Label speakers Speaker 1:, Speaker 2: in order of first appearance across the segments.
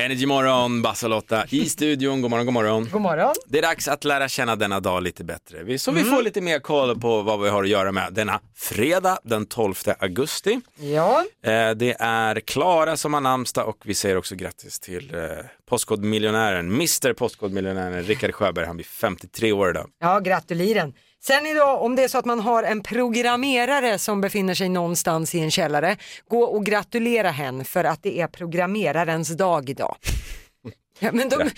Speaker 1: Energy morgon, Basalotta i studion. God morgon, god morgon.
Speaker 2: God morgon.
Speaker 1: Det är dags att lära känna denna dag lite bättre. Vi- Så vi
Speaker 2: Mm.
Speaker 1: får lite mer koll på vad vi har att göra med denna fredag den 12 augusti.
Speaker 2: Ja,
Speaker 1: Eh, Det är Klara som har namnsdag och vi säger också grattis till eh, Postkodmiljonären, Mr Postkodmiljonären Rickard Sjöberg. Han blir 53 år idag.
Speaker 2: ja gratuliren. Sen idag, om det är så att man har en programmerare som befinner sig någonstans i en källare, gå och gratulera henne för att det är programmerarens dag idag. Ja, men de,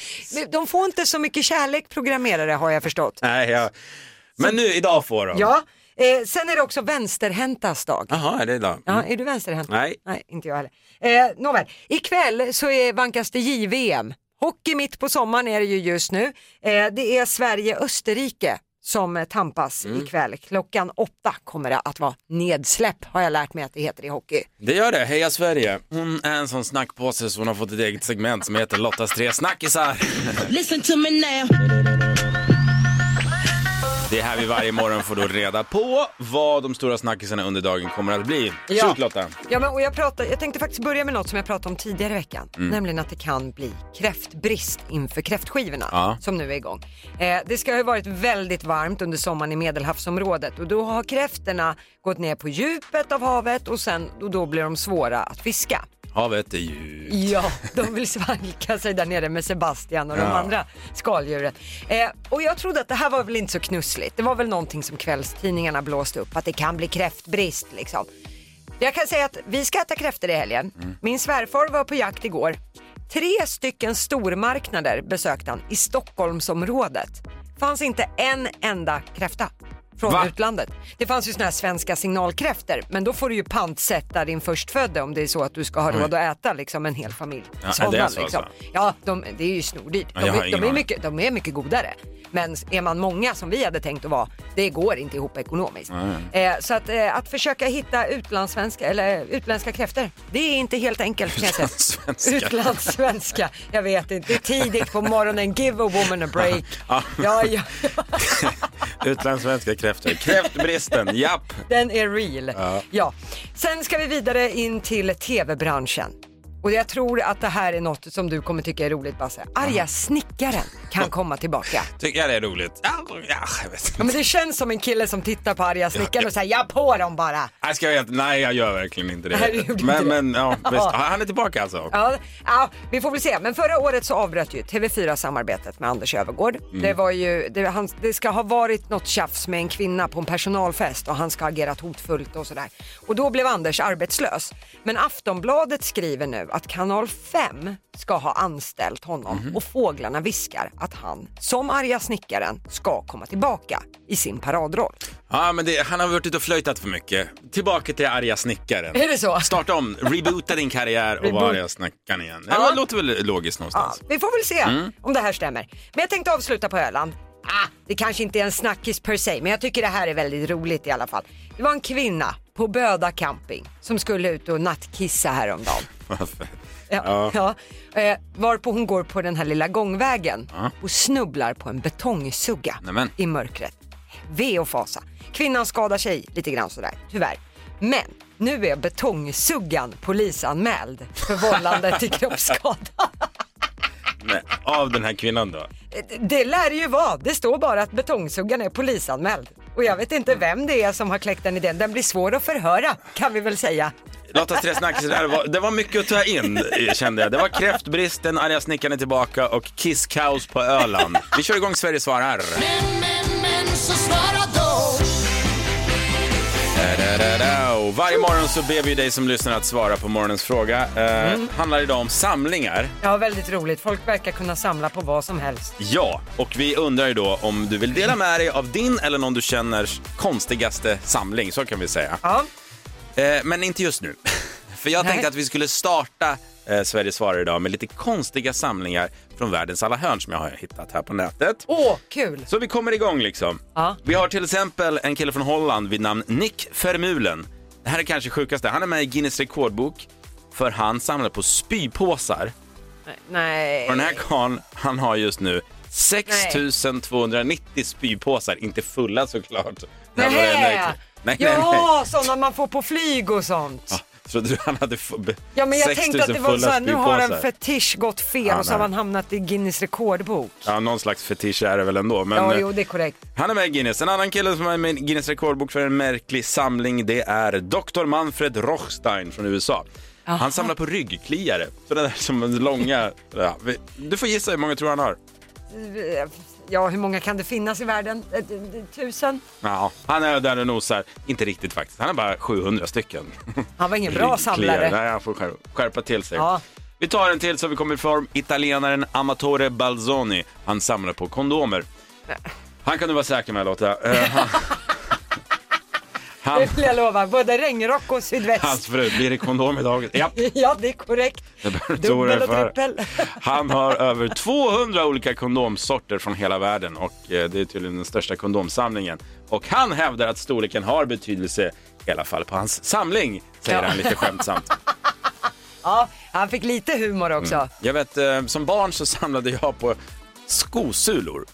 Speaker 2: de får inte så mycket kärlek programmerare har jag förstått.
Speaker 1: Nej, jag... Men nu idag får de.
Speaker 2: Ja, eh, sen är det också vänsterhäntas dag.
Speaker 1: Jaha, är det idag? Mm.
Speaker 2: Ja, är du vänsterhänt?
Speaker 1: Nej.
Speaker 2: Nej, inte jag heller. Eh, nåväl, ikväll så är, vankas det JVM. Hockey mitt på sommaren är det ju just nu. Eh, det är Sverige-Österrike som eh, tampas ikväll. Klockan åtta kommer det att vara nedsläpp har jag lärt mig att det heter i hockey.
Speaker 1: Det gör det, heja Sverige.
Speaker 3: Hon är en sån snackpåse så hon har fått ett eget segment som heter Lottas tre snackisar.
Speaker 4: Listen to me now.
Speaker 3: Det är här vi varje morgon får då reda på vad de stora snackisarna under dagen kommer att bli.
Speaker 2: Ja.
Speaker 3: Shoot Lotta.
Speaker 2: Ja, men, och jag, pratar, jag tänkte faktiskt börja med något som jag pratade om tidigare i veckan, nämligen att det kan bli kräftbrist inför kräftskivorna
Speaker 3: Ja.
Speaker 2: som nu är igång. Eh, det ska ha varit väldigt varmt under sommaren i Medelhavsområdet och då har kräftorna gått ner på djupet av havet och, sen, och då blir de svåra att fiska.
Speaker 3: Havet är ju...
Speaker 2: Ja, de vill svalka sig där nere med Sebastian och de andra skaldjuren. Eh, och jag trodde att det här var väl inte så knussligt. Det var väl någonting som kvällstidningarna blåste upp, att det kan bli kräftbrist liksom. Jag kan säga att vi ska äta kräftor i helgen. Min svärfar var på jakt igår. Tre stycken stormarknader besökte han i Stockholmsområdet. Fanns inte en enda kräfta från
Speaker 3: Va?
Speaker 2: utlandet. Det fanns ju såna här svenska signalkräftor, men då får du ju pantsätta din förstfödde om det är så att du ska ha råd att äta liksom en hel familj.
Speaker 3: Mm. Ja,
Speaker 2: Sådana,
Speaker 3: det är så
Speaker 2: liksom.
Speaker 3: alltså?
Speaker 2: Ja, de, det är ju snordyrt.
Speaker 3: Ja,
Speaker 2: De,
Speaker 3: jag har
Speaker 2: är-
Speaker 3: ingen
Speaker 2: de, är
Speaker 3: aning.
Speaker 2: mycket, de är mycket godare. Men är man många som vi hade tänkt att vara, det går inte ihop ekonomiskt. Eh, så att, eh, att försöka hitta utlandssvenska, eller eh, utländska kräftor, det är inte helt enkelt. kan jag säga.
Speaker 3: Utlandssvenska.
Speaker 2: Utlandssvenska, jag vet inte. Det är tidigt på morgonen, give a woman a break.
Speaker 3: Ja.
Speaker 2: Ja, ja,
Speaker 3: Utlandssvenska kräftor. Kräftbristen, japp.
Speaker 2: den är real. Ja. Sen ska vi vidare in till tv-branschen. Och jag tror att det här är något som du kommer tycka är roligt Basse. Arga snickaren kan komma tillbaka.
Speaker 3: Tycker jag det är roligt? Ja, ja, jag vet
Speaker 2: Ja,
Speaker 3: inte.
Speaker 2: men det känns som en kille som tittar på arga snickaren och säger ja på dem bara.
Speaker 3: Jag ska vara helt... Nej, jag gör verkligen inte
Speaker 2: Nej, du
Speaker 3: det.
Speaker 2: gjorde
Speaker 3: Men,
Speaker 2: inte det.
Speaker 3: men ja, visst. Han är tillbaka alltså.
Speaker 2: Ja, ja, vi får väl se. Men förra året så avbröt ju TV4 samarbetet med Anders Övergård. Det, var ju, det, han, det ska ha varit något tjafs med en kvinna på en personalfest och han ska ha agerat hotfullt och sådär. Och då blev Anders arbetslös. Men Aftonbladet skriver nu att Kanal 5 ska ha anställt honom och fåglarna viskar att han, som arga snickaren, ska komma tillbaka i sin paradroll.
Speaker 3: Ja, men det, han har varit ute och flöjtat för mycket. Tillbaka till arga snickaren.
Speaker 2: Är det så?
Speaker 3: Starta om, reboota din karriär och
Speaker 2: Reboot.
Speaker 3: var jag snackar igen. Ja. Det låter väl logiskt
Speaker 2: Ja,
Speaker 3: någonstans.
Speaker 2: vi får väl se om det här stämmer. Men jag tänkte avsluta på Öland. Ah, det kanske inte är en snackis per se, men jag tycker det här är väldigt roligt i alla fall. Det var en kvinna på Böda camping som skulle ut och nattkissa häromdagen.
Speaker 3: Varför?
Speaker 2: Ja, ja. Eh, varpå hon går på den här lilla gångvägen och snubblar på en betongsugga
Speaker 3: Nämen.
Speaker 2: i mörkret. Ve och fasa. Kvinnan skadar sig lite grann sådär, tyvärr. Men nu är betongsuggan polisanmäld för vållande till kroppsskada.
Speaker 3: Nej, av den här kvinnan då?
Speaker 2: Det lär det ju vara. Det står bara att betongsuggaren är polisanmäld. Och jag vet inte vem det är som har kläckt den idén. Den blir svår att förhöra kan vi väl säga.
Speaker 3: Lottas tre snackisar, det här var- det var mycket att ta in eh, kände jag. Det var kräftbristen, arga snickaren är tillbaka och kisskaos på Öland. Vi kör igång Sverige svarar.
Speaker 4: Men, men, men, så svara då.
Speaker 3: Da-da-da. Och Varje morgon så ber vi dig som lyssnar att svara på morgonens fråga. Eh, Handlar idag om samlingar.
Speaker 2: Ja, väldigt roligt. Folk verkar kunna samla på vad som helst.
Speaker 3: Ja, och vi undrar ju då om du vill dela med dig av din eller någon du känner konstigaste samling, så kan vi säga.
Speaker 2: Ja,
Speaker 3: Eh, men inte just nu. För jag
Speaker 2: Nej.
Speaker 3: tänkte att vi skulle starta eh, Sverige svarar idag med lite konstiga samlingar från världens alla hörn som jag har hittat här på nätet.
Speaker 2: åh, kul.
Speaker 3: Så vi kommer igång liksom.
Speaker 2: Ja.
Speaker 3: Vi har till exempel en kille från Holland vid namn Nick Vermulen. Det här är kanske sjukaste. Han är med i Guinness rekordbok för han samlar på spypåsar.
Speaker 2: Nej.
Speaker 3: Och den här karln, han har just nu 6290 spypåsar, inte fulla såklart. Det här var det jag nöjd
Speaker 2: Nähä.
Speaker 3: med. Nej, nej, nej.
Speaker 2: Ja, sådana man får på flyg och sånt.
Speaker 3: Trodde du han hade fu- be-
Speaker 2: Ja men jag
Speaker 3: 6 000
Speaker 2: tänkte att det var
Speaker 3: fulla
Speaker 2: så här, nu har en
Speaker 3: spypåsar?
Speaker 2: fetisch gått fel
Speaker 3: Ja,
Speaker 2: och så har
Speaker 3: nej.
Speaker 2: man hamnat i Guinness rekordbok.
Speaker 3: Ja, någon slags fetisch är det väl ändå. Men
Speaker 2: Ja,
Speaker 3: eh,
Speaker 2: jo det är korrekt.
Speaker 3: han är med i Guinness. En annan kille som är med i Guinness rekordbok för en märklig samling, det är Dr. Manfred Rochstein från USA. Han samlar på ryggkliare. Sådana där som en långa... Ja, vi- du får gissa hur många tror han har.
Speaker 2: Ja, hur många kan det finnas i världen? Eh, d- d- Tusen?
Speaker 3: Ja, han är där och nosar. Inte riktigt faktiskt. Han är bara 700 stycken.
Speaker 2: Han var ingen bra
Speaker 3: Ryggkliare.
Speaker 2: samlare.
Speaker 3: Nej, han får skär- skärpa till sig.
Speaker 2: Ja.
Speaker 3: Vi tar en till så vi kommer i form. Italienaren Amatore Balzoni. Han samlar på kondomer. Han kan du vara säker med Lotta. Eh, han- han,
Speaker 2: Det vill jag lova. Både regnrock och sydväst.
Speaker 3: hans fru, blir det kondom idag? Ja.
Speaker 2: Ja, det är korrekt.
Speaker 3: Det bör du oroa dig
Speaker 2: Dubbel och
Speaker 3: för.
Speaker 2: trippel.
Speaker 3: Han har över 200 olika kondomsorter från hela världen och eh, det är tydligen den största kondomsamlingen. Och han hävdar att storleken har betydelse, i alla fall på hans samling, säger han lite skämtsamt.
Speaker 2: Ja, han fick lite humor
Speaker 3: Mm.
Speaker 2: också.
Speaker 3: Jag vet, eh, som barn så samlade jag på skosulor.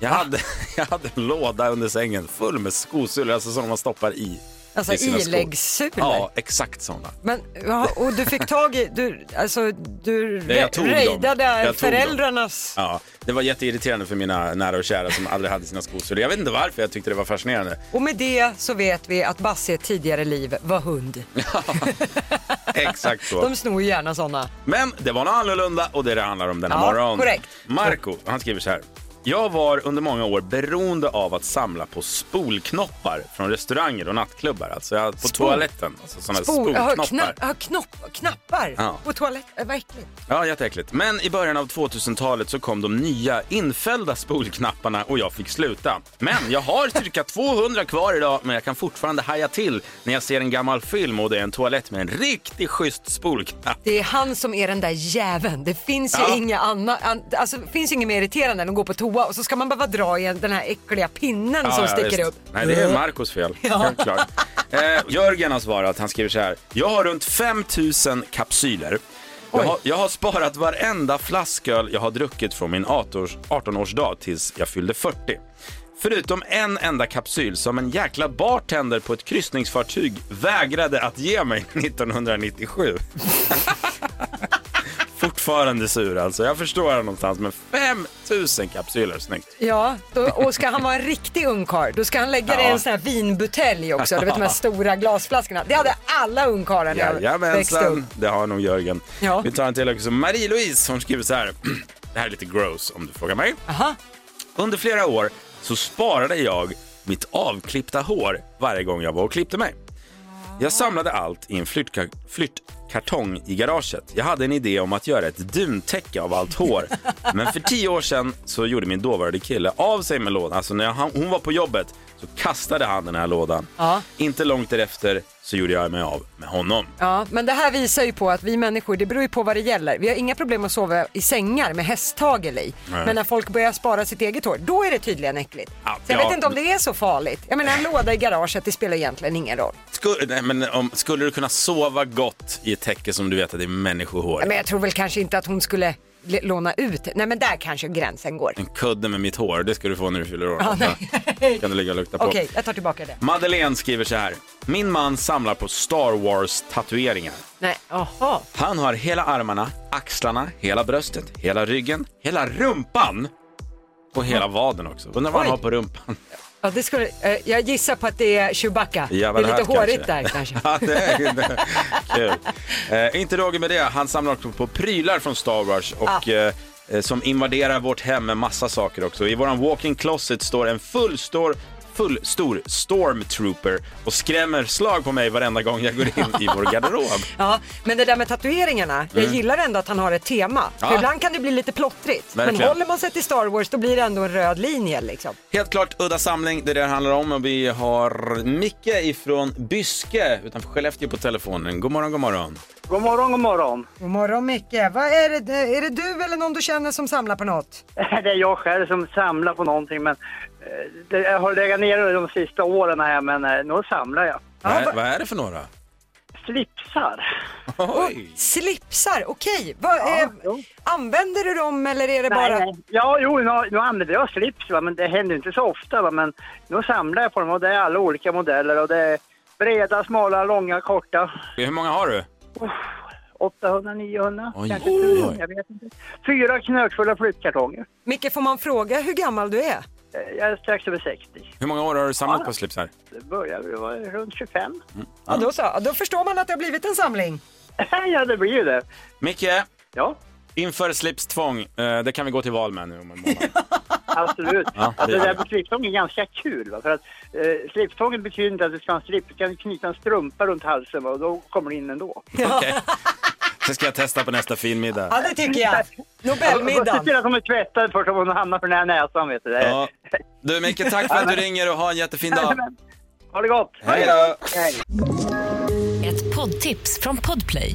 Speaker 3: Jag hade, jag hade en låda under sängen full med skosulor, alltså sådana man stoppar i.
Speaker 2: Alltså
Speaker 3: i sina skor.
Speaker 2: iläggssulor?
Speaker 3: Ja, exakt sådana.
Speaker 2: Men, ja, och du fick tag i, du, alltså du
Speaker 3: Nej, jag tog dem. Jag
Speaker 2: rejdade
Speaker 3: tog
Speaker 2: föräldrarnas...
Speaker 3: Ja, det var jätteirriterande för mina nära och kära som aldrig hade sina skosulor. Jag vet inte varför, jag tyckte det var fascinerande.
Speaker 2: Och med det så vet vi att Basse i ett tidigare liv var hund.
Speaker 3: Exakt så.
Speaker 2: De snor ju gärna sådana.
Speaker 3: Men det var något annorlunda och det är det handlar om denna
Speaker 2: Ja,
Speaker 3: morgon.
Speaker 2: korrekt.
Speaker 3: Marco, han skriver så här. Jag var under många år beroende av att samla på spolknoppar från restauranger och nattklubbar. Alltså jag, på toaletten. Alltså såna här
Speaker 2: Jaha,
Speaker 3: spolknoppar.
Speaker 2: knapp, aha, knopp, knappar
Speaker 3: Ja.
Speaker 2: på äh, toaletten. Vad äckligt.
Speaker 3: Ja, jätteäckligt. Men i början av 2000-talet så kom de nya infällda spolknapparna och jag fick sluta. Men jag har cirka 200 kvar idag, men jag kan fortfarande haja till när jag ser en gammal film och det är en toalett med en riktigt schysst spolknapp.
Speaker 2: Det är han som är den där jäveln. Det finns ju
Speaker 3: Ja.
Speaker 2: inga anna, an, alltså, det finns ju inget mer irriterande än att gå på toa och så ska man behöva dra i en- den här äckliga pinnen som sticker
Speaker 3: visst.
Speaker 2: upp. Eh.
Speaker 3: Nej, det är Marcos fel. Helt klart. Eh, Jörgen har svarat, han skriver så här. Jag har runt 5000 kapsyler. Jag har, jag har sparat varenda flasköl jag har druckit från min 18-års- 18-årsdag tills jag fyllde 40. Förutom en enda kapsyl som en jäkla bartender på ett kryssningsfartyg vägrade att ge mig 1997. Fortfarande sur alltså. Jag förstår det någonstans, men 5000 kapsyler, snyggt.
Speaker 2: Ja, då, och ska han vara en riktig ungkarl då ska han lägga det i
Speaker 3: Ja.
Speaker 2: en sån här vinbutelj också. Du vet de här stora glasflaskorna. Det hade alla ungkarlar när jag växte upp.
Speaker 3: Jajamensan, det har nog Jörgen.
Speaker 2: Ja.
Speaker 3: Vi tar en till också. Marie-Louise, hon skriver så här. Det här är lite gross om du frågar mig.
Speaker 2: Aha.
Speaker 3: Under flera år så sparade jag mitt avklippta hår varje gång jag var och klippte mig. Jag samlade allt i en flyttka- flyttkartong i garaget. Jag hade en idé om att göra ett duntäcke av allt hår. Men för tio år sedan så gjorde min dåvarande kille av sig med lådan. Alltså när han, hon var på jobbet så kastade han den här lådan.
Speaker 2: Ja.
Speaker 3: Inte långt därefter så gjorde jag mig av med honom.
Speaker 2: Ja, men det här visar ju på att vi människor, det beror ju på vad det gäller. Vi har inga problem att sova i sängar med hästtagel i. Men när folk börjar spara sitt eget hår, då är det tydligen äckligt.
Speaker 3: Ja,
Speaker 2: så jag
Speaker 3: ja.
Speaker 2: vet inte om det är så farligt. Jag menar en låda i garaget, det spelar egentligen ingen roll.
Speaker 3: Skulle, nej, men om, skulle du kunna sova gott i ett täcke som du vet att det är människohår?
Speaker 2: Men jag tror väl kanske inte att hon skulle l- låna ut. Nej men där kanske gränsen går.
Speaker 3: En kudde med mitt hår, det ska du få när du fyller år.
Speaker 2: nej.
Speaker 3: kan du ligga och lukta på.
Speaker 2: Okej, jag tar tillbaka det.
Speaker 3: Madeleine skriver så här. Min man samlar på Star Wars-tatueringar.
Speaker 2: Nej, jaha.
Speaker 3: Han har hela armarna, axlarna, hela bröstet, hela ryggen, hela rumpan och hela vaden också. Undrar vad han
Speaker 2: Oj.
Speaker 3: har på rumpan.
Speaker 2: Ja, det skulle, eh, jag gissar på att det är Chewbacca. det är lite hårigt där kanske.
Speaker 3: ja, det är det. Kul. Eh, inte nog med det, han samlar också på prylar från Star Wars och eh, eh, som invaderar vårt hem med massa saker också. I våran walk-in closet står en full stor full stor stormtrooper och skrämmer slag på mig varenda gång jag går in i vår garderob.
Speaker 2: Ja, men det där med tatueringarna, jag gillar ändå att han har ett tema. För
Speaker 3: Mm. Ja.
Speaker 2: ibland kan det bli lite plottrigt. Men
Speaker 3: Verkligen.
Speaker 2: håller man sig till Star Wars då blir det ändå en röd linje liksom.
Speaker 3: Helt klart udda samling, det är det det handlar om. Och vi har Micke ifrån Byske utanför Skellefteå på telefonen. God morgon, god morgon.
Speaker 5: God morgon, god morgon.
Speaker 2: God morgon Micke, Vad är, det, är det du eller någon du känner som samlar på något?
Speaker 5: Det är jag själv som samlar på någonting men eh, det- jag har legat ner det de sista åren här men eh, nu samlar jag.
Speaker 2: Ja,
Speaker 3: vad, är,
Speaker 2: va-
Speaker 3: vad är det för några?
Speaker 5: Slipsar.
Speaker 3: Oj.
Speaker 2: Slipsar, okej. Vad, eh,
Speaker 5: jo.
Speaker 2: använder du dem eller är det bara...
Speaker 5: Ja, jo, nu, nu använder jag slips va, men det händer inte så ofta va, men nu samlar jag på dem och det är alla olika modeller och det är Breda, smala, långa, korta.
Speaker 3: Hur många har du?
Speaker 5: 800, 900,
Speaker 3: Oj,
Speaker 5: kanske
Speaker 3: oj,
Speaker 5: 1000,
Speaker 3: oj.
Speaker 5: jag vet inte. Fyra knökfulla flyttkartonger.
Speaker 2: Micke, får man fråga hur gammal du är?
Speaker 5: Eh, Jag är strax över 60.
Speaker 3: Hur många år har du samlat på slipsar?
Speaker 5: Det börjar väl vara runt 25.
Speaker 2: Ja. då, så, Ja, då förstår man att det har blivit en samling.
Speaker 5: ja, det blir ju det.
Speaker 3: Micke,
Speaker 5: Ja,
Speaker 3: inför slipstvång, eh, det kan vi gå till val med nu om en månad.
Speaker 5: absolut.
Speaker 3: Ja, det
Speaker 5: alltså, det
Speaker 3: gör
Speaker 5: där
Speaker 3: det.
Speaker 5: med slipstång är ganska kul. Va? För att eh, slipstången betyder inte att du ska ha en slip. Du kan knyta en strumpa runt halsen va? och då kommer det in ändå.
Speaker 3: Okej. Så ska jag testa på nästa finmiddag.
Speaker 2: Ja, det tycker jag.
Speaker 5: Se till
Speaker 2: Nobelmiddagen.
Speaker 5: att de är tvättade först om hon hamnar för den här näsan vet du. Det-
Speaker 3: Ja. Du Micke, tack för att du ringer och ha en jättefin dag.
Speaker 5: Ha det gott!
Speaker 3: Hej då!
Speaker 5: Hej.
Speaker 6: Ett poddtips från Podplay.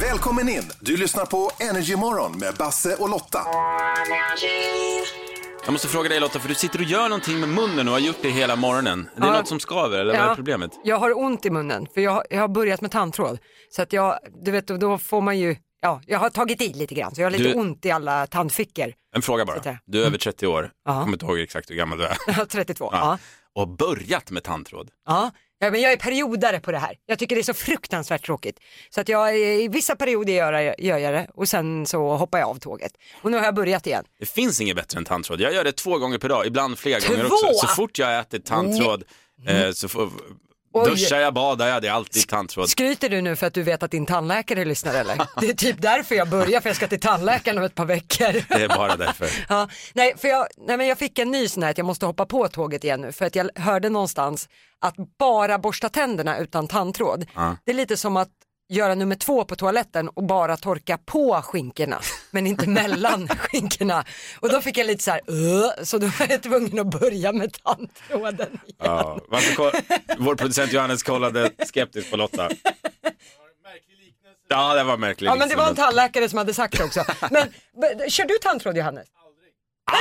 Speaker 7: Välkommen in! Du lyssnar på Energymorgon med Basse och Lotta.
Speaker 3: Jag måste fråga dig Lotta, för du sitter och gör någonting med munnen och har gjort det hela morgonen. Är det
Speaker 2: Ja.
Speaker 3: något som skaver eller vad är
Speaker 2: Ja.
Speaker 3: problemet?
Speaker 2: Jag har ont i munnen för jag, jag har börjat med tandtråd. Så att jag, du vet, då- då får man ju, ja, jag har tagit i lite grann så jag har lite
Speaker 3: Du-
Speaker 2: ont i alla tandfickor.
Speaker 3: En fråga
Speaker 2: Sitter
Speaker 3: bara.
Speaker 2: jag.
Speaker 3: Du är över 30 år,
Speaker 2: Ja.
Speaker 3: kommer inte ihåg exakt hur gammal du är.
Speaker 2: 32.
Speaker 3: Ja.
Speaker 2: Ja.
Speaker 3: Och har börjat med tandtråd.
Speaker 2: Ja. ja, men jag är periodare på det här. Jag tycker det är så fruktansvärt tråkigt. Så att jag, eh, i vissa perioder gör jag, gör jag det och sen så hoppar jag av tåget. Och nu har jag börjat igen.
Speaker 3: Det finns inget bättre än tandtråd. Jag gör det två gånger per dag, ibland flera gånger
Speaker 2: Två?
Speaker 3: också. Så fort jag äter tandtråd eh, så får,
Speaker 2: Oj.
Speaker 3: duschar jag, badar jag, det är alltid tandtråd.
Speaker 2: Skryter du nu för att du vet att din tandläkare lyssnar eller? Det är typ därför jag börjar, för jag ska till tandläkaren om ett par veckor.
Speaker 3: Det är bara därför.
Speaker 2: Ja, nej, för jag, nej, men jag fick en ny sån här att jag måste hoppa på tåget igen nu för att jag hörde någonstans att bara borsta tänderna utan tandtråd, det är lite som att göra nummer två på toaletten och bara torka på skinkorna men inte mellan skinkorna. Och då fick jag lite så här, "Åh", så då var jag tvungen att börja med tandtråden.
Speaker 3: Ja. Varför ko- Vår producent Johannes kollade skeptiskt på Lotta. Ja, det var liksom. märkligt.
Speaker 2: Ja men det var en tandläkare som hade sagt det också. Men b- kör du tandtråd Johannes?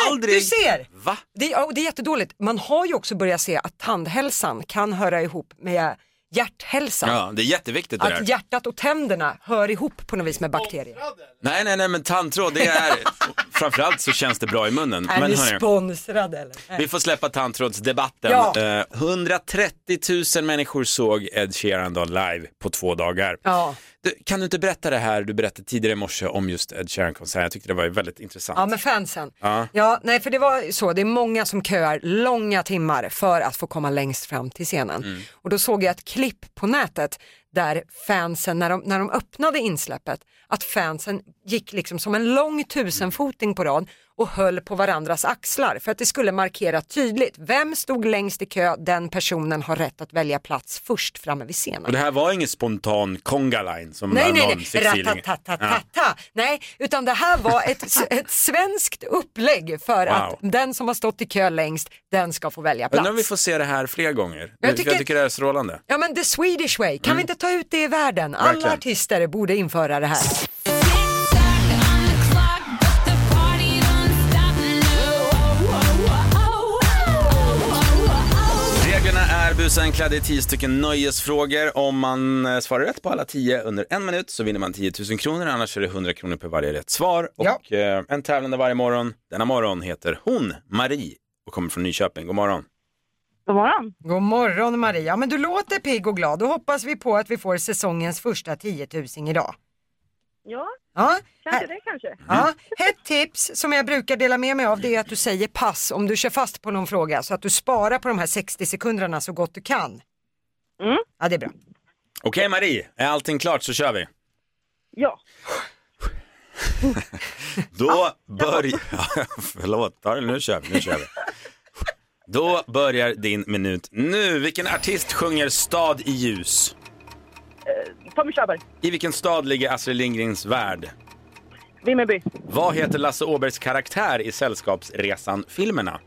Speaker 3: Aldrig!
Speaker 2: Du ser!
Speaker 3: Va?
Speaker 2: Det, ja, och det är jättedåligt. Man har ju också börjat se att tandhälsan kan höra ihop med hjärthälsan.
Speaker 3: Ja, det är jätteviktigt det där.
Speaker 2: Att hjärtat och tänderna hör ihop på något vis med bakterier.
Speaker 3: Nej, nej, nej, men tandtråd, det är... Framförallt så känns det bra i munnen.
Speaker 2: Är
Speaker 3: men
Speaker 2: ni
Speaker 3: hörni,
Speaker 2: sponsrade eller? Nej.
Speaker 3: Vi får släppa tandtrådsdebatten.
Speaker 2: Ja.
Speaker 3: Eh, 130 000 människor såg Ed Sheeran då live på två dagar.
Speaker 2: Ja.
Speaker 3: Du, kan du inte berätta det här du berättade tidigare i morse om just Ed Sheeran-konserten? Jag tyckte det var ju väldigt intressant.
Speaker 2: Ja, med fansen.
Speaker 3: Ja.
Speaker 2: Ja, nej, för det var så, det är många som köar långa timmar för att få komma längst fram till scenen.
Speaker 3: Mm.
Speaker 2: Och då såg jag ett klipp på nätet där fansen, när de, när de öppnade insläppet, att fansen gick liksom som en lång tusenfoting på rad och höll på varandras axlar för att det skulle markera tydligt vem stod längst i kö, den personen har rätt att välja plats först framme vid scenen.
Speaker 3: Och det här var ingen spontan Kongaline som
Speaker 2: Nej,
Speaker 3: var
Speaker 2: nej,
Speaker 3: någon
Speaker 2: nej.
Speaker 3: sexfiling.
Speaker 2: Ratatatatata. Nej, utan det här var ett, ett svenskt upplägg för
Speaker 3: Wow.
Speaker 2: att den som har stått i kö längst, den ska få välja
Speaker 3: Undrar om vi
Speaker 2: plats.
Speaker 3: får se det här fler gånger.
Speaker 2: Jag
Speaker 3: Jag tycker,
Speaker 2: tycker-
Speaker 3: jag tycker det här är strålande.
Speaker 2: Ja men the Swedish way, kan vi inte ta ut det i världen? Alla
Speaker 3: Mm. Verkligen.
Speaker 2: artister borde införa det här.
Speaker 3: Reglerna är busenkla, det är tio stycken nöjesfrågor. Om man eh, svarar rätt på alla tio under en minut så vinner man 10 000 kronor, annars är det 100 kronor per varje rätt svar. Och eh, en tävlande varje morgon. Denna morgon heter hon Marie och kommer från Nyköping. God morgon.
Speaker 8: God morgon.
Speaker 2: God morgon Maria, men du låter pigg och glad. Då hoppas vi på att vi får säsongens första 10 000 idag.
Speaker 8: Ja,
Speaker 2: Ja,
Speaker 8: kanske det kanske.
Speaker 2: Ja, ett tips som jag brukar dela med mig av det är att du säger pass om du kör fast på någon fråga så att du sparar på de här 60 sekunderna så gott du kan.
Speaker 8: Mm.
Speaker 2: Ja, det är bra.
Speaker 3: Okej Marie, är allting klart så kör vi.
Speaker 8: Ja,
Speaker 3: Då börjar... Förlåt, ta det, nu kör vi. Nu kör vi. Då börjar din minut nu. Vilken artist sjunger Stad i ljus?
Speaker 8: Eh, Tommy Körberg,
Speaker 3: I vilken stad ligger Astrid Lindgrens värld?
Speaker 8: Vimmerby,
Speaker 3: Vad heter Lasse Åbergs karaktär i Sällskapsresan-filmerna?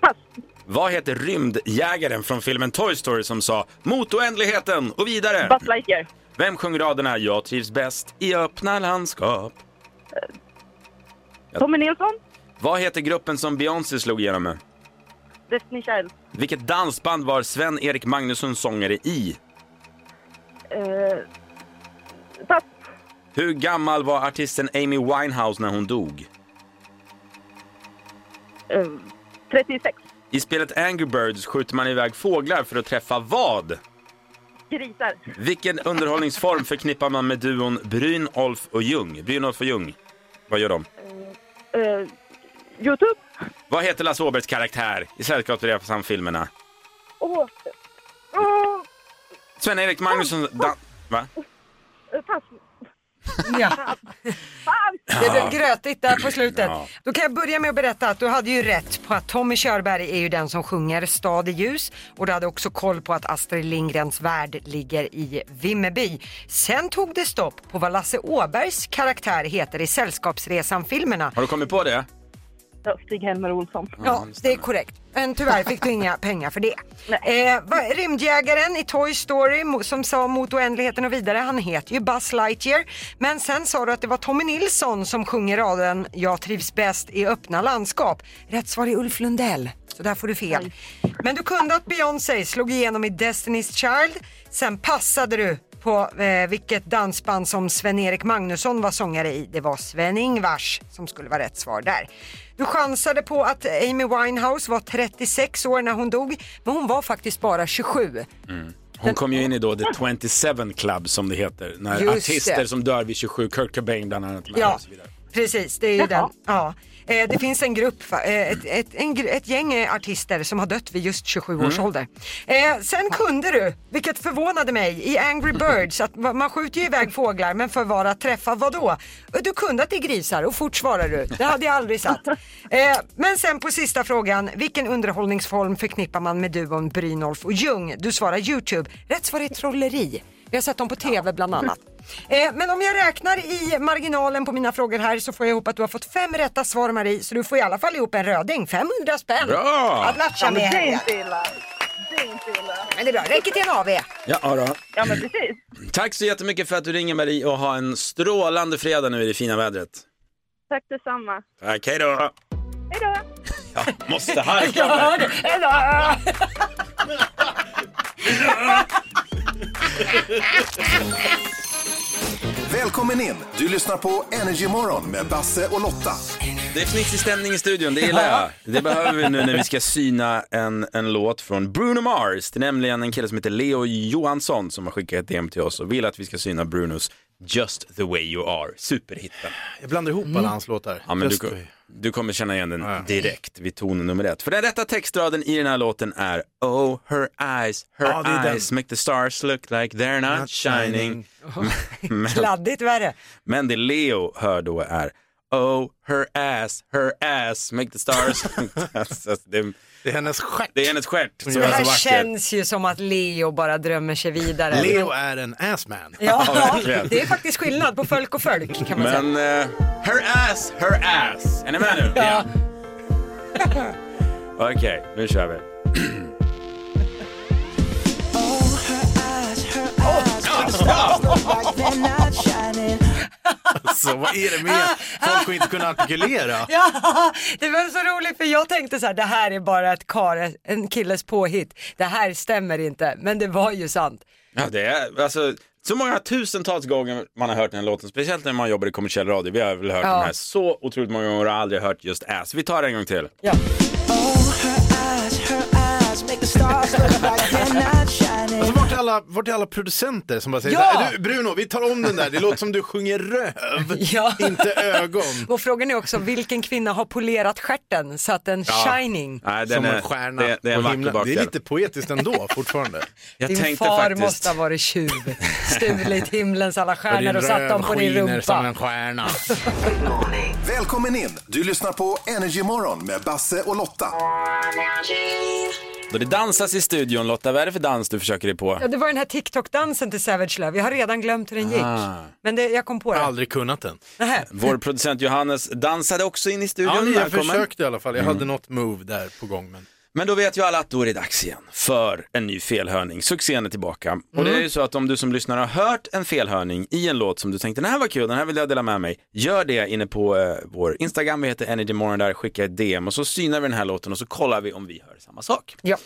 Speaker 8: pass,
Speaker 3: Vad heter rymdjägaren från filmen Toy Story som sa mot oändligheten och vidare?
Speaker 8: Buzz Lightyear.
Speaker 3: Vem sjöng raderna Jag trivs bäst i öppna landskap?
Speaker 8: Eh, Tommy Nilsson.
Speaker 3: Vad heter gruppen som Beyoncé slog igenom med?
Speaker 8: Destiny Child.
Speaker 3: Vilket dansband var Sven-Erik Magnusson sångare i?
Speaker 8: Eh, pass.
Speaker 3: Hur gammal var artisten Amy Winehouse när hon dog?
Speaker 8: Eh, 36.
Speaker 3: I spelet Angry Birds skjuter man iväg fåglar för att träffa vad?
Speaker 8: Grisar.
Speaker 3: Vilken underhållningsform förknippar man med duon Brynolf och Ljung? Brynolf och Ljung, vad gör de?
Speaker 8: Eh, Youtube.
Speaker 3: Vad heter Lasse Åbergs karaktär i Sällskapsresan-filmerna?
Speaker 8: Åh. eh, Åh,
Speaker 3: Sven-Erik Magnusson... Dan- Va?
Speaker 8: eh, pass.
Speaker 2: Ja.
Speaker 8: Fan!
Speaker 2: Det blev grötigt där på slutet.
Speaker 3: Ja.
Speaker 2: Då kan jag börja med att berätta att du hade ju rätt på att Tommy Körberg är ju den som sjunger Stad i ljus och du hade också koll på att Astrid Lindgrens värld ligger i Vimmerby. Sen tog det stopp på vad Lasse Åbergs karaktär heter i Sällskapsresan-filmerna.
Speaker 3: Har du kommit på det?
Speaker 8: Ja, Stig-Helmer Olsson.
Speaker 2: Ja, det är korrekt. Men tyvärr fick du inga pengar för det. Eh, va- rymdjägaren i Toy Story mo- som sa mot oändligheten och vidare, han heter ju Buzz Lightyear. Men sen sa du att det var Tommy Nilsson som sjunger raden Jag trivs bäst i öppna landskap. Rätt svar är Ulf Lundell. Så där får du fel. Men du kunde att Beyoncé slog igenom i Destiny's Child. Sen passade du på eh, vilket dansband som Sven-Erik Magnusson var sångare i. Det var Sven-Ingvars som skulle vara rätt svar där. Du chansade på att Amy Winehouse var 36 år när hon dog, men hon var faktiskt bara 27.
Speaker 3: Hon kom ju in i då The 27 Club som det heter. När
Speaker 2: Just
Speaker 3: artister
Speaker 2: det.
Speaker 3: som dör vid 27, Kurt Cobain bland annat. med
Speaker 2: Ja,
Speaker 3: och så vidare.
Speaker 2: precis. Det är ju den. Ja. Eh, Det finns en grupp, va- eh, ett, ett, en, gr- ett gäng eh, artister som har dött vid just 27
Speaker 3: Mm.
Speaker 2: års ålder. Eh, sen kunde du, vilket förvånade mig, i Angry Birds att va- man skjuter ju iväg fåglar men för vara träffa vadå? Du kunde att det är grisar och fort svarar du. Det hade jag aldrig satt. Eh, men sen på sista frågan, vilken underhållningsform förknippar man med duon Brynolf och Ljung? Du svarar Youtube. Rätt svar är trolleri. Vi har sett dem på TV bland annat. Eh, men om jag räknar i marginalen på mina frågor här så får jag ihop att du har fått fem rätta svar Marie, så du får i alla fall ihop en röding, 500 spänn.
Speaker 3: Bra!
Speaker 2: Att latcha
Speaker 8: Ja, men
Speaker 2: med
Speaker 8: det är
Speaker 2: här.
Speaker 8: inte illa. Det är inte illa.
Speaker 2: Men det är bra, räcker till en AV.
Speaker 3: Ja, då.
Speaker 8: Ja, men precis.
Speaker 3: Tack så jättemycket för att du ringer Marie och ha en strålande fredag nu i det fina vädret.
Speaker 8: Tack detsamma.
Speaker 3: Tack, hej då!
Speaker 8: Hej då!
Speaker 3: Ja, måste harka mig.
Speaker 7: Välkommen in! Du lyssnar på Energymorgon med Basse och Lotta.
Speaker 3: Det är fnissig stämning i studion, det gillar jag. Det behöver vi nu när vi ska syna en, en låt från Bruno Mars. Det är nämligen en kille som heter Leo Johansson som har skickat ett DM till oss och vill att vi ska syna Brunos Just the way you are, superhitten.
Speaker 9: Jag blandar ihop alla hans låtar.
Speaker 3: Ja, men du,
Speaker 9: Just
Speaker 3: ko-
Speaker 9: det.
Speaker 3: du kommer känna igen den direkt vid ton nummer ett. För den rätta textraden i den här låten är Oh, her eyes, her
Speaker 9: Ja, det är den.
Speaker 3: eyes make the stars look like they're not,
Speaker 9: Not
Speaker 3: shining.
Speaker 9: shining.
Speaker 3: men,
Speaker 2: Kladdigt värre.
Speaker 3: men det Leo hör då är Oh, her ass, her ass make the stars alltså, det,
Speaker 9: Det är hennes stjärt.
Speaker 3: det är hennes stjärt som
Speaker 2: Det
Speaker 3: är så
Speaker 2: här
Speaker 3: vacker.
Speaker 2: känns ju som att Leo bara drömmer sig vidare.
Speaker 9: Leo är en assman.
Speaker 2: Ja,
Speaker 3: verkligen.
Speaker 2: det är faktiskt skillnad på folk och folk kan man säga.
Speaker 3: Men eh, her ass, her ass. Är ni med nu? Ja. Okej, nu kör vi.
Speaker 9: Så vad är det med folk att inte kunna artikulera?
Speaker 2: Ja, det var så roligt för jag tänkte så här, det här är bara ett kar, en killes påhitt. Det här stämmer inte, men det var ju sant.
Speaker 3: Ja, det är alltså så många tusentals gånger man har hört den här låten, speciellt när man jobbar i kommersiell radio. Vi har väl hört den här så otroligt många gånger och har aldrig hört just ass. Vi tar det en gång till.
Speaker 2: Ja.
Speaker 9: Alltså, vart, är alla, vart är alla producenter som bara säger
Speaker 2: Ja!
Speaker 9: så här, du Bruno, vi tar om den där, det låter som du sjunger röv,
Speaker 2: Ja.
Speaker 9: inte ögon.
Speaker 2: Och frågan är också, vilken kvinna har polerat stjärten så att den shining?
Speaker 3: Nej,
Speaker 9: som en stjärna
Speaker 3: Det, det är en
Speaker 9: på
Speaker 3: vacker
Speaker 9: himlen. Det är
Speaker 3: bakdel.
Speaker 9: lite poetiskt ändå fortfarande.
Speaker 3: Jag
Speaker 2: Din
Speaker 3: tänkte
Speaker 2: far
Speaker 3: faktiskt...
Speaker 2: måste ha varit tjuv, stulit himlens alla stjärnor och satt dem på din
Speaker 9: skiner som
Speaker 2: rumpa.
Speaker 9: en stjärna.
Speaker 7: Välkommen in! Du lyssnar på Energymorgon med Basse och Lotta.
Speaker 3: Då det dansas i studion, Lotta, vad är det för dans du försöker dig på?
Speaker 2: Ja, det var den här TikTok-dansen till Savage Love, jag har redan glömt hur den gick.
Speaker 3: Ah.
Speaker 2: Men det, jag kom på
Speaker 9: Jag har
Speaker 2: den.
Speaker 9: aldrig kunnat den.
Speaker 2: Nähä.
Speaker 3: Vår producent Johannes dansade också in i studion.
Speaker 9: Ja, jag
Speaker 3: Välkommen.
Speaker 9: försökte i alla fall, jag hade något move där på gång. Men...
Speaker 3: Men då vet ju alla att då är det dags igen för en ny felhörning. Succén är tillbaka. Och det är ju så att om du som lyssnare har hört en felhörning i en låt som du tänkte den här var kul, den här vill jag dela med mig. Gör det inne på eh, vår Instagram, vi heter Energymorgon där, skicka ett DM och så synar vi den här låten och så kollar vi om vi hör samma sak.
Speaker 2: Ja.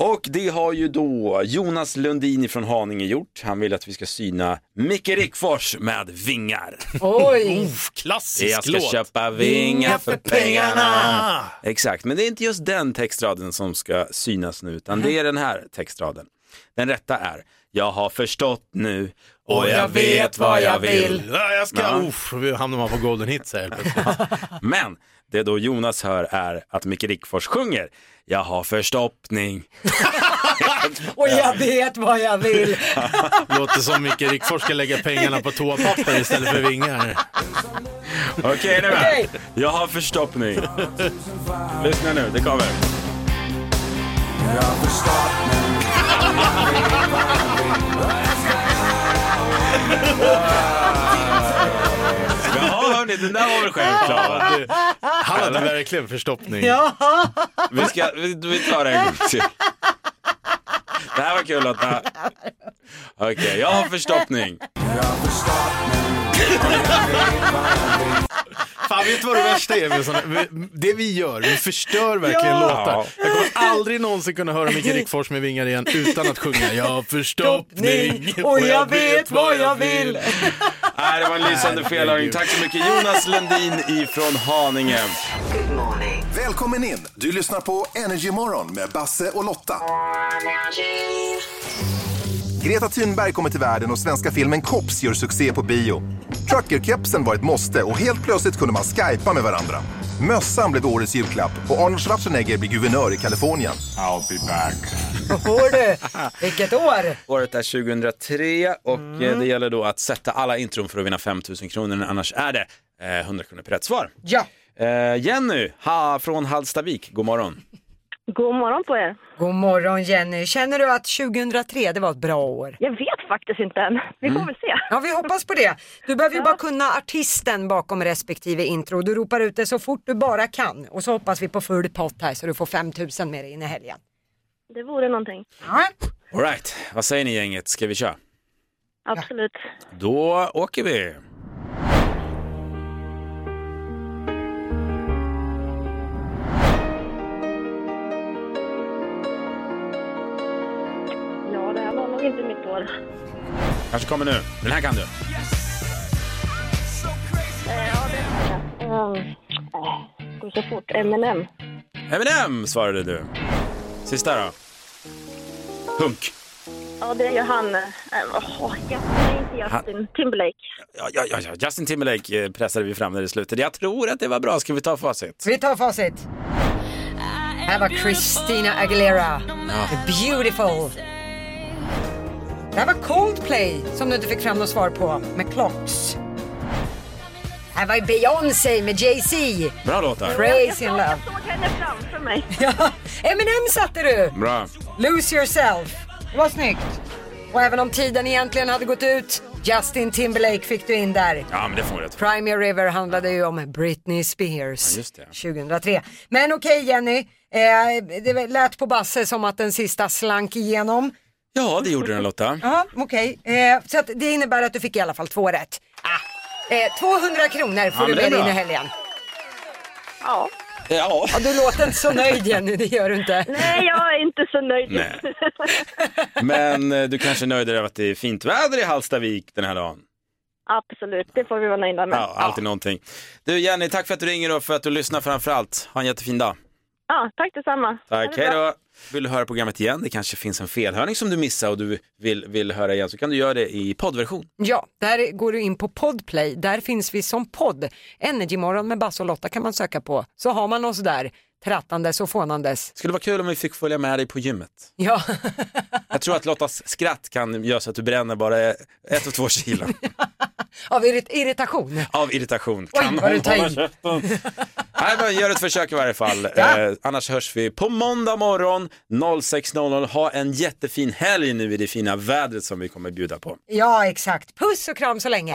Speaker 3: Och det har ju då Jonas Lundin från Haninge gjort. Han vill att vi ska syna Micke Rickfors med Vingar. Oh,
Speaker 2: Oj!
Speaker 9: Klassisk
Speaker 3: Jag ska
Speaker 9: låt.
Speaker 3: köpa vingar för pengarna. Exakt, men det är inte just den textraden som ska synas nu, utan det är den här textraden. Den rätta är, jag har förstått nu och jag vet vad jag vill.
Speaker 9: Ja, jag ska,
Speaker 3: Ja.
Speaker 9: uff, nu hamnar man på golden hits här helt plötsligt.
Speaker 3: Men det då Jonas hör är att Micke Rickfors sjunger, jag har förstoppning.
Speaker 2: Och jag vet vad jag vill.
Speaker 9: Låter som Micke Rickfors ska lägga pengarna på toapapper istället för vingar.
Speaker 3: Okej, är ni med? Jag har förstoppning. Lyssna nu, det kommer. Jaha, hörni, den där var väl självklar?
Speaker 9: Han hade verkligen förstoppning.
Speaker 3: Vi, ska, vi, vi tar det en gång till. Det här var kul Lotta. Okej, jag har förstoppning.
Speaker 9: Fan, vet du vad det värsta är med såna, med- Det vi gör, vi förstör verkligen låtar. Jag kommer aldrig någonsin kunna höra Micke Rickfors med vingar igen utan att sjunga Jag har förstoppning
Speaker 2: Och jag vet vad jag vill.
Speaker 3: Nej, det var en lysande felhörning. Tack så mycket Jonas Lundin ifrån Haninge.
Speaker 7: Välkommen in! Du lyssnar på Energymorgon med Basse och Lotta. Greta Thunberg kommer till världen och svenska filmen Kops gör succé på bio. Truckerkepsen var ett måste och helt plötsligt kunde man skypa med varandra. Mössan blev årets julklapp och Arnold Schwarzenegger blir guvernör i Kalifornien.
Speaker 3: I'll be back.
Speaker 2: Hör du, vilket år.
Speaker 3: Året är 2003 och eh, det gäller då att sätta alla intron för att vinna 5000 kronor, annars är det eh, 100 kronor per rätt svar.
Speaker 2: Ja,
Speaker 3: Eh, Jenny ha, från Hallstavik, god morgon.
Speaker 8: God morgon på er.
Speaker 2: god morgon Jenny. Känner du att 2003 det var ett bra år?
Speaker 8: Jag vet faktiskt inte än. Vi får väl se.
Speaker 2: Ja, vi hoppas på det. Du behöver ju bara kunna artisten bakom respektive intro. Du ropar ut det så fort du bara kan och så hoppas vi på full pott här så du får 5000 med dig in i helgen.
Speaker 8: Det vore någonting.
Speaker 2: Ja.
Speaker 3: All right, vad säger ni gänget, ska vi köra?
Speaker 8: Absolut.
Speaker 3: Då åker vi.
Speaker 8: Ja, det här var nog inte mitt år.
Speaker 3: Kanske kommer nu. Den här kan du.
Speaker 8: Um, det går så fort. M&M.
Speaker 3: Eminem svarade du. Sista då. Hunk.
Speaker 8: Ja, det är ju han. eh, Åh, jag nej, inte Justin Timberlake.
Speaker 3: Ja, ja, ja, ja. Justin Timberlake eh, pressade vi fram när det slutade. Jag tror att det var bra. Ska vi ta facit?
Speaker 2: Vi tar facit. Här var Christina Aguilera. Beautiful. Det här var Coldplay som du inte fick fram något svar på med Clocks. Här var ju Beyoncé med Jay-Z.
Speaker 3: Bra låtar.
Speaker 2: Praise in love.
Speaker 8: Jag såg henne framför mig.
Speaker 2: Ja, Eminem satte du.
Speaker 3: Bra.
Speaker 2: Lose yourself. Det var snyggt. Och även om tiden egentligen hade gått ut, Justin Timberlake fick du in där.
Speaker 3: Ja, men det får vi rätt för.
Speaker 2: Prime Your River handlade ju om Britney Spears
Speaker 3: just det.
Speaker 2: 2003. Men okej Jenny, eh, det lät på Basse som att den sista slank igenom.
Speaker 3: Ja, det gjorde den Lotta.
Speaker 2: Ja, okej. Eh, så att det innebär att du fick i alla fall två rätt. Ah. Eh, 200 kronor får
Speaker 3: Ja,
Speaker 2: du
Speaker 3: men det är
Speaker 2: med dig in
Speaker 3: bra.
Speaker 2: i helgen.
Speaker 8: Ja.
Speaker 3: Ja.
Speaker 2: Ja, du låter inte så nöjd Jenny, det gör du inte.
Speaker 8: Nej, jag är inte så nöjd.
Speaker 3: Nej. Men eh, du kanske är nöjd över att det är fint väder i Hallstavik den här dagen?
Speaker 8: Absolut, det får vi vara nöjda med.
Speaker 3: Ja, alltid någonting. Du Jenny, tack för att du ringer och för att du lyssnar framför allt. Ha en jättefin dag.
Speaker 8: Ja, tack detsamma. Ha
Speaker 3: Tack,
Speaker 8: det
Speaker 3: hej
Speaker 8: bra.
Speaker 3: då. Vill du höra programmet igen, det kanske finns en felhörning som du missade och du vill, vill höra igen, så kan du göra det i poddversion.
Speaker 2: Ja, där går du in på Podplay. Där finns vi som podd. Energymorgon med Basse och Lotta kan man söka på. Så har man oss där, trattandes och fånandes.
Speaker 3: Skulle vara kul om vi fick följa med dig på gymmet.
Speaker 2: Ja,
Speaker 3: Jag tror att Lottas skratt kan göra så att du bränner bara ett och två kilo
Speaker 2: av irrit- irritation.
Speaker 3: av irritation.
Speaker 2: Oj,
Speaker 3: Kan
Speaker 2: vad du
Speaker 3: hon
Speaker 2: tar i.
Speaker 3: hålla käften? Nej, men gör ett försök i varje fall.
Speaker 2: Ja.
Speaker 3: Eh, annars hörs vi på måndag morgon 06.00. Ha en jättefin helg nu i det fina vädret som vi kommer bjuda på.
Speaker 2: Ja, exakt. Puss och kram så länge.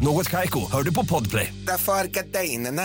Speaker 10: Något Kaiko, hör du på Podplay.
Speaker 7: Därför arkadeinerna.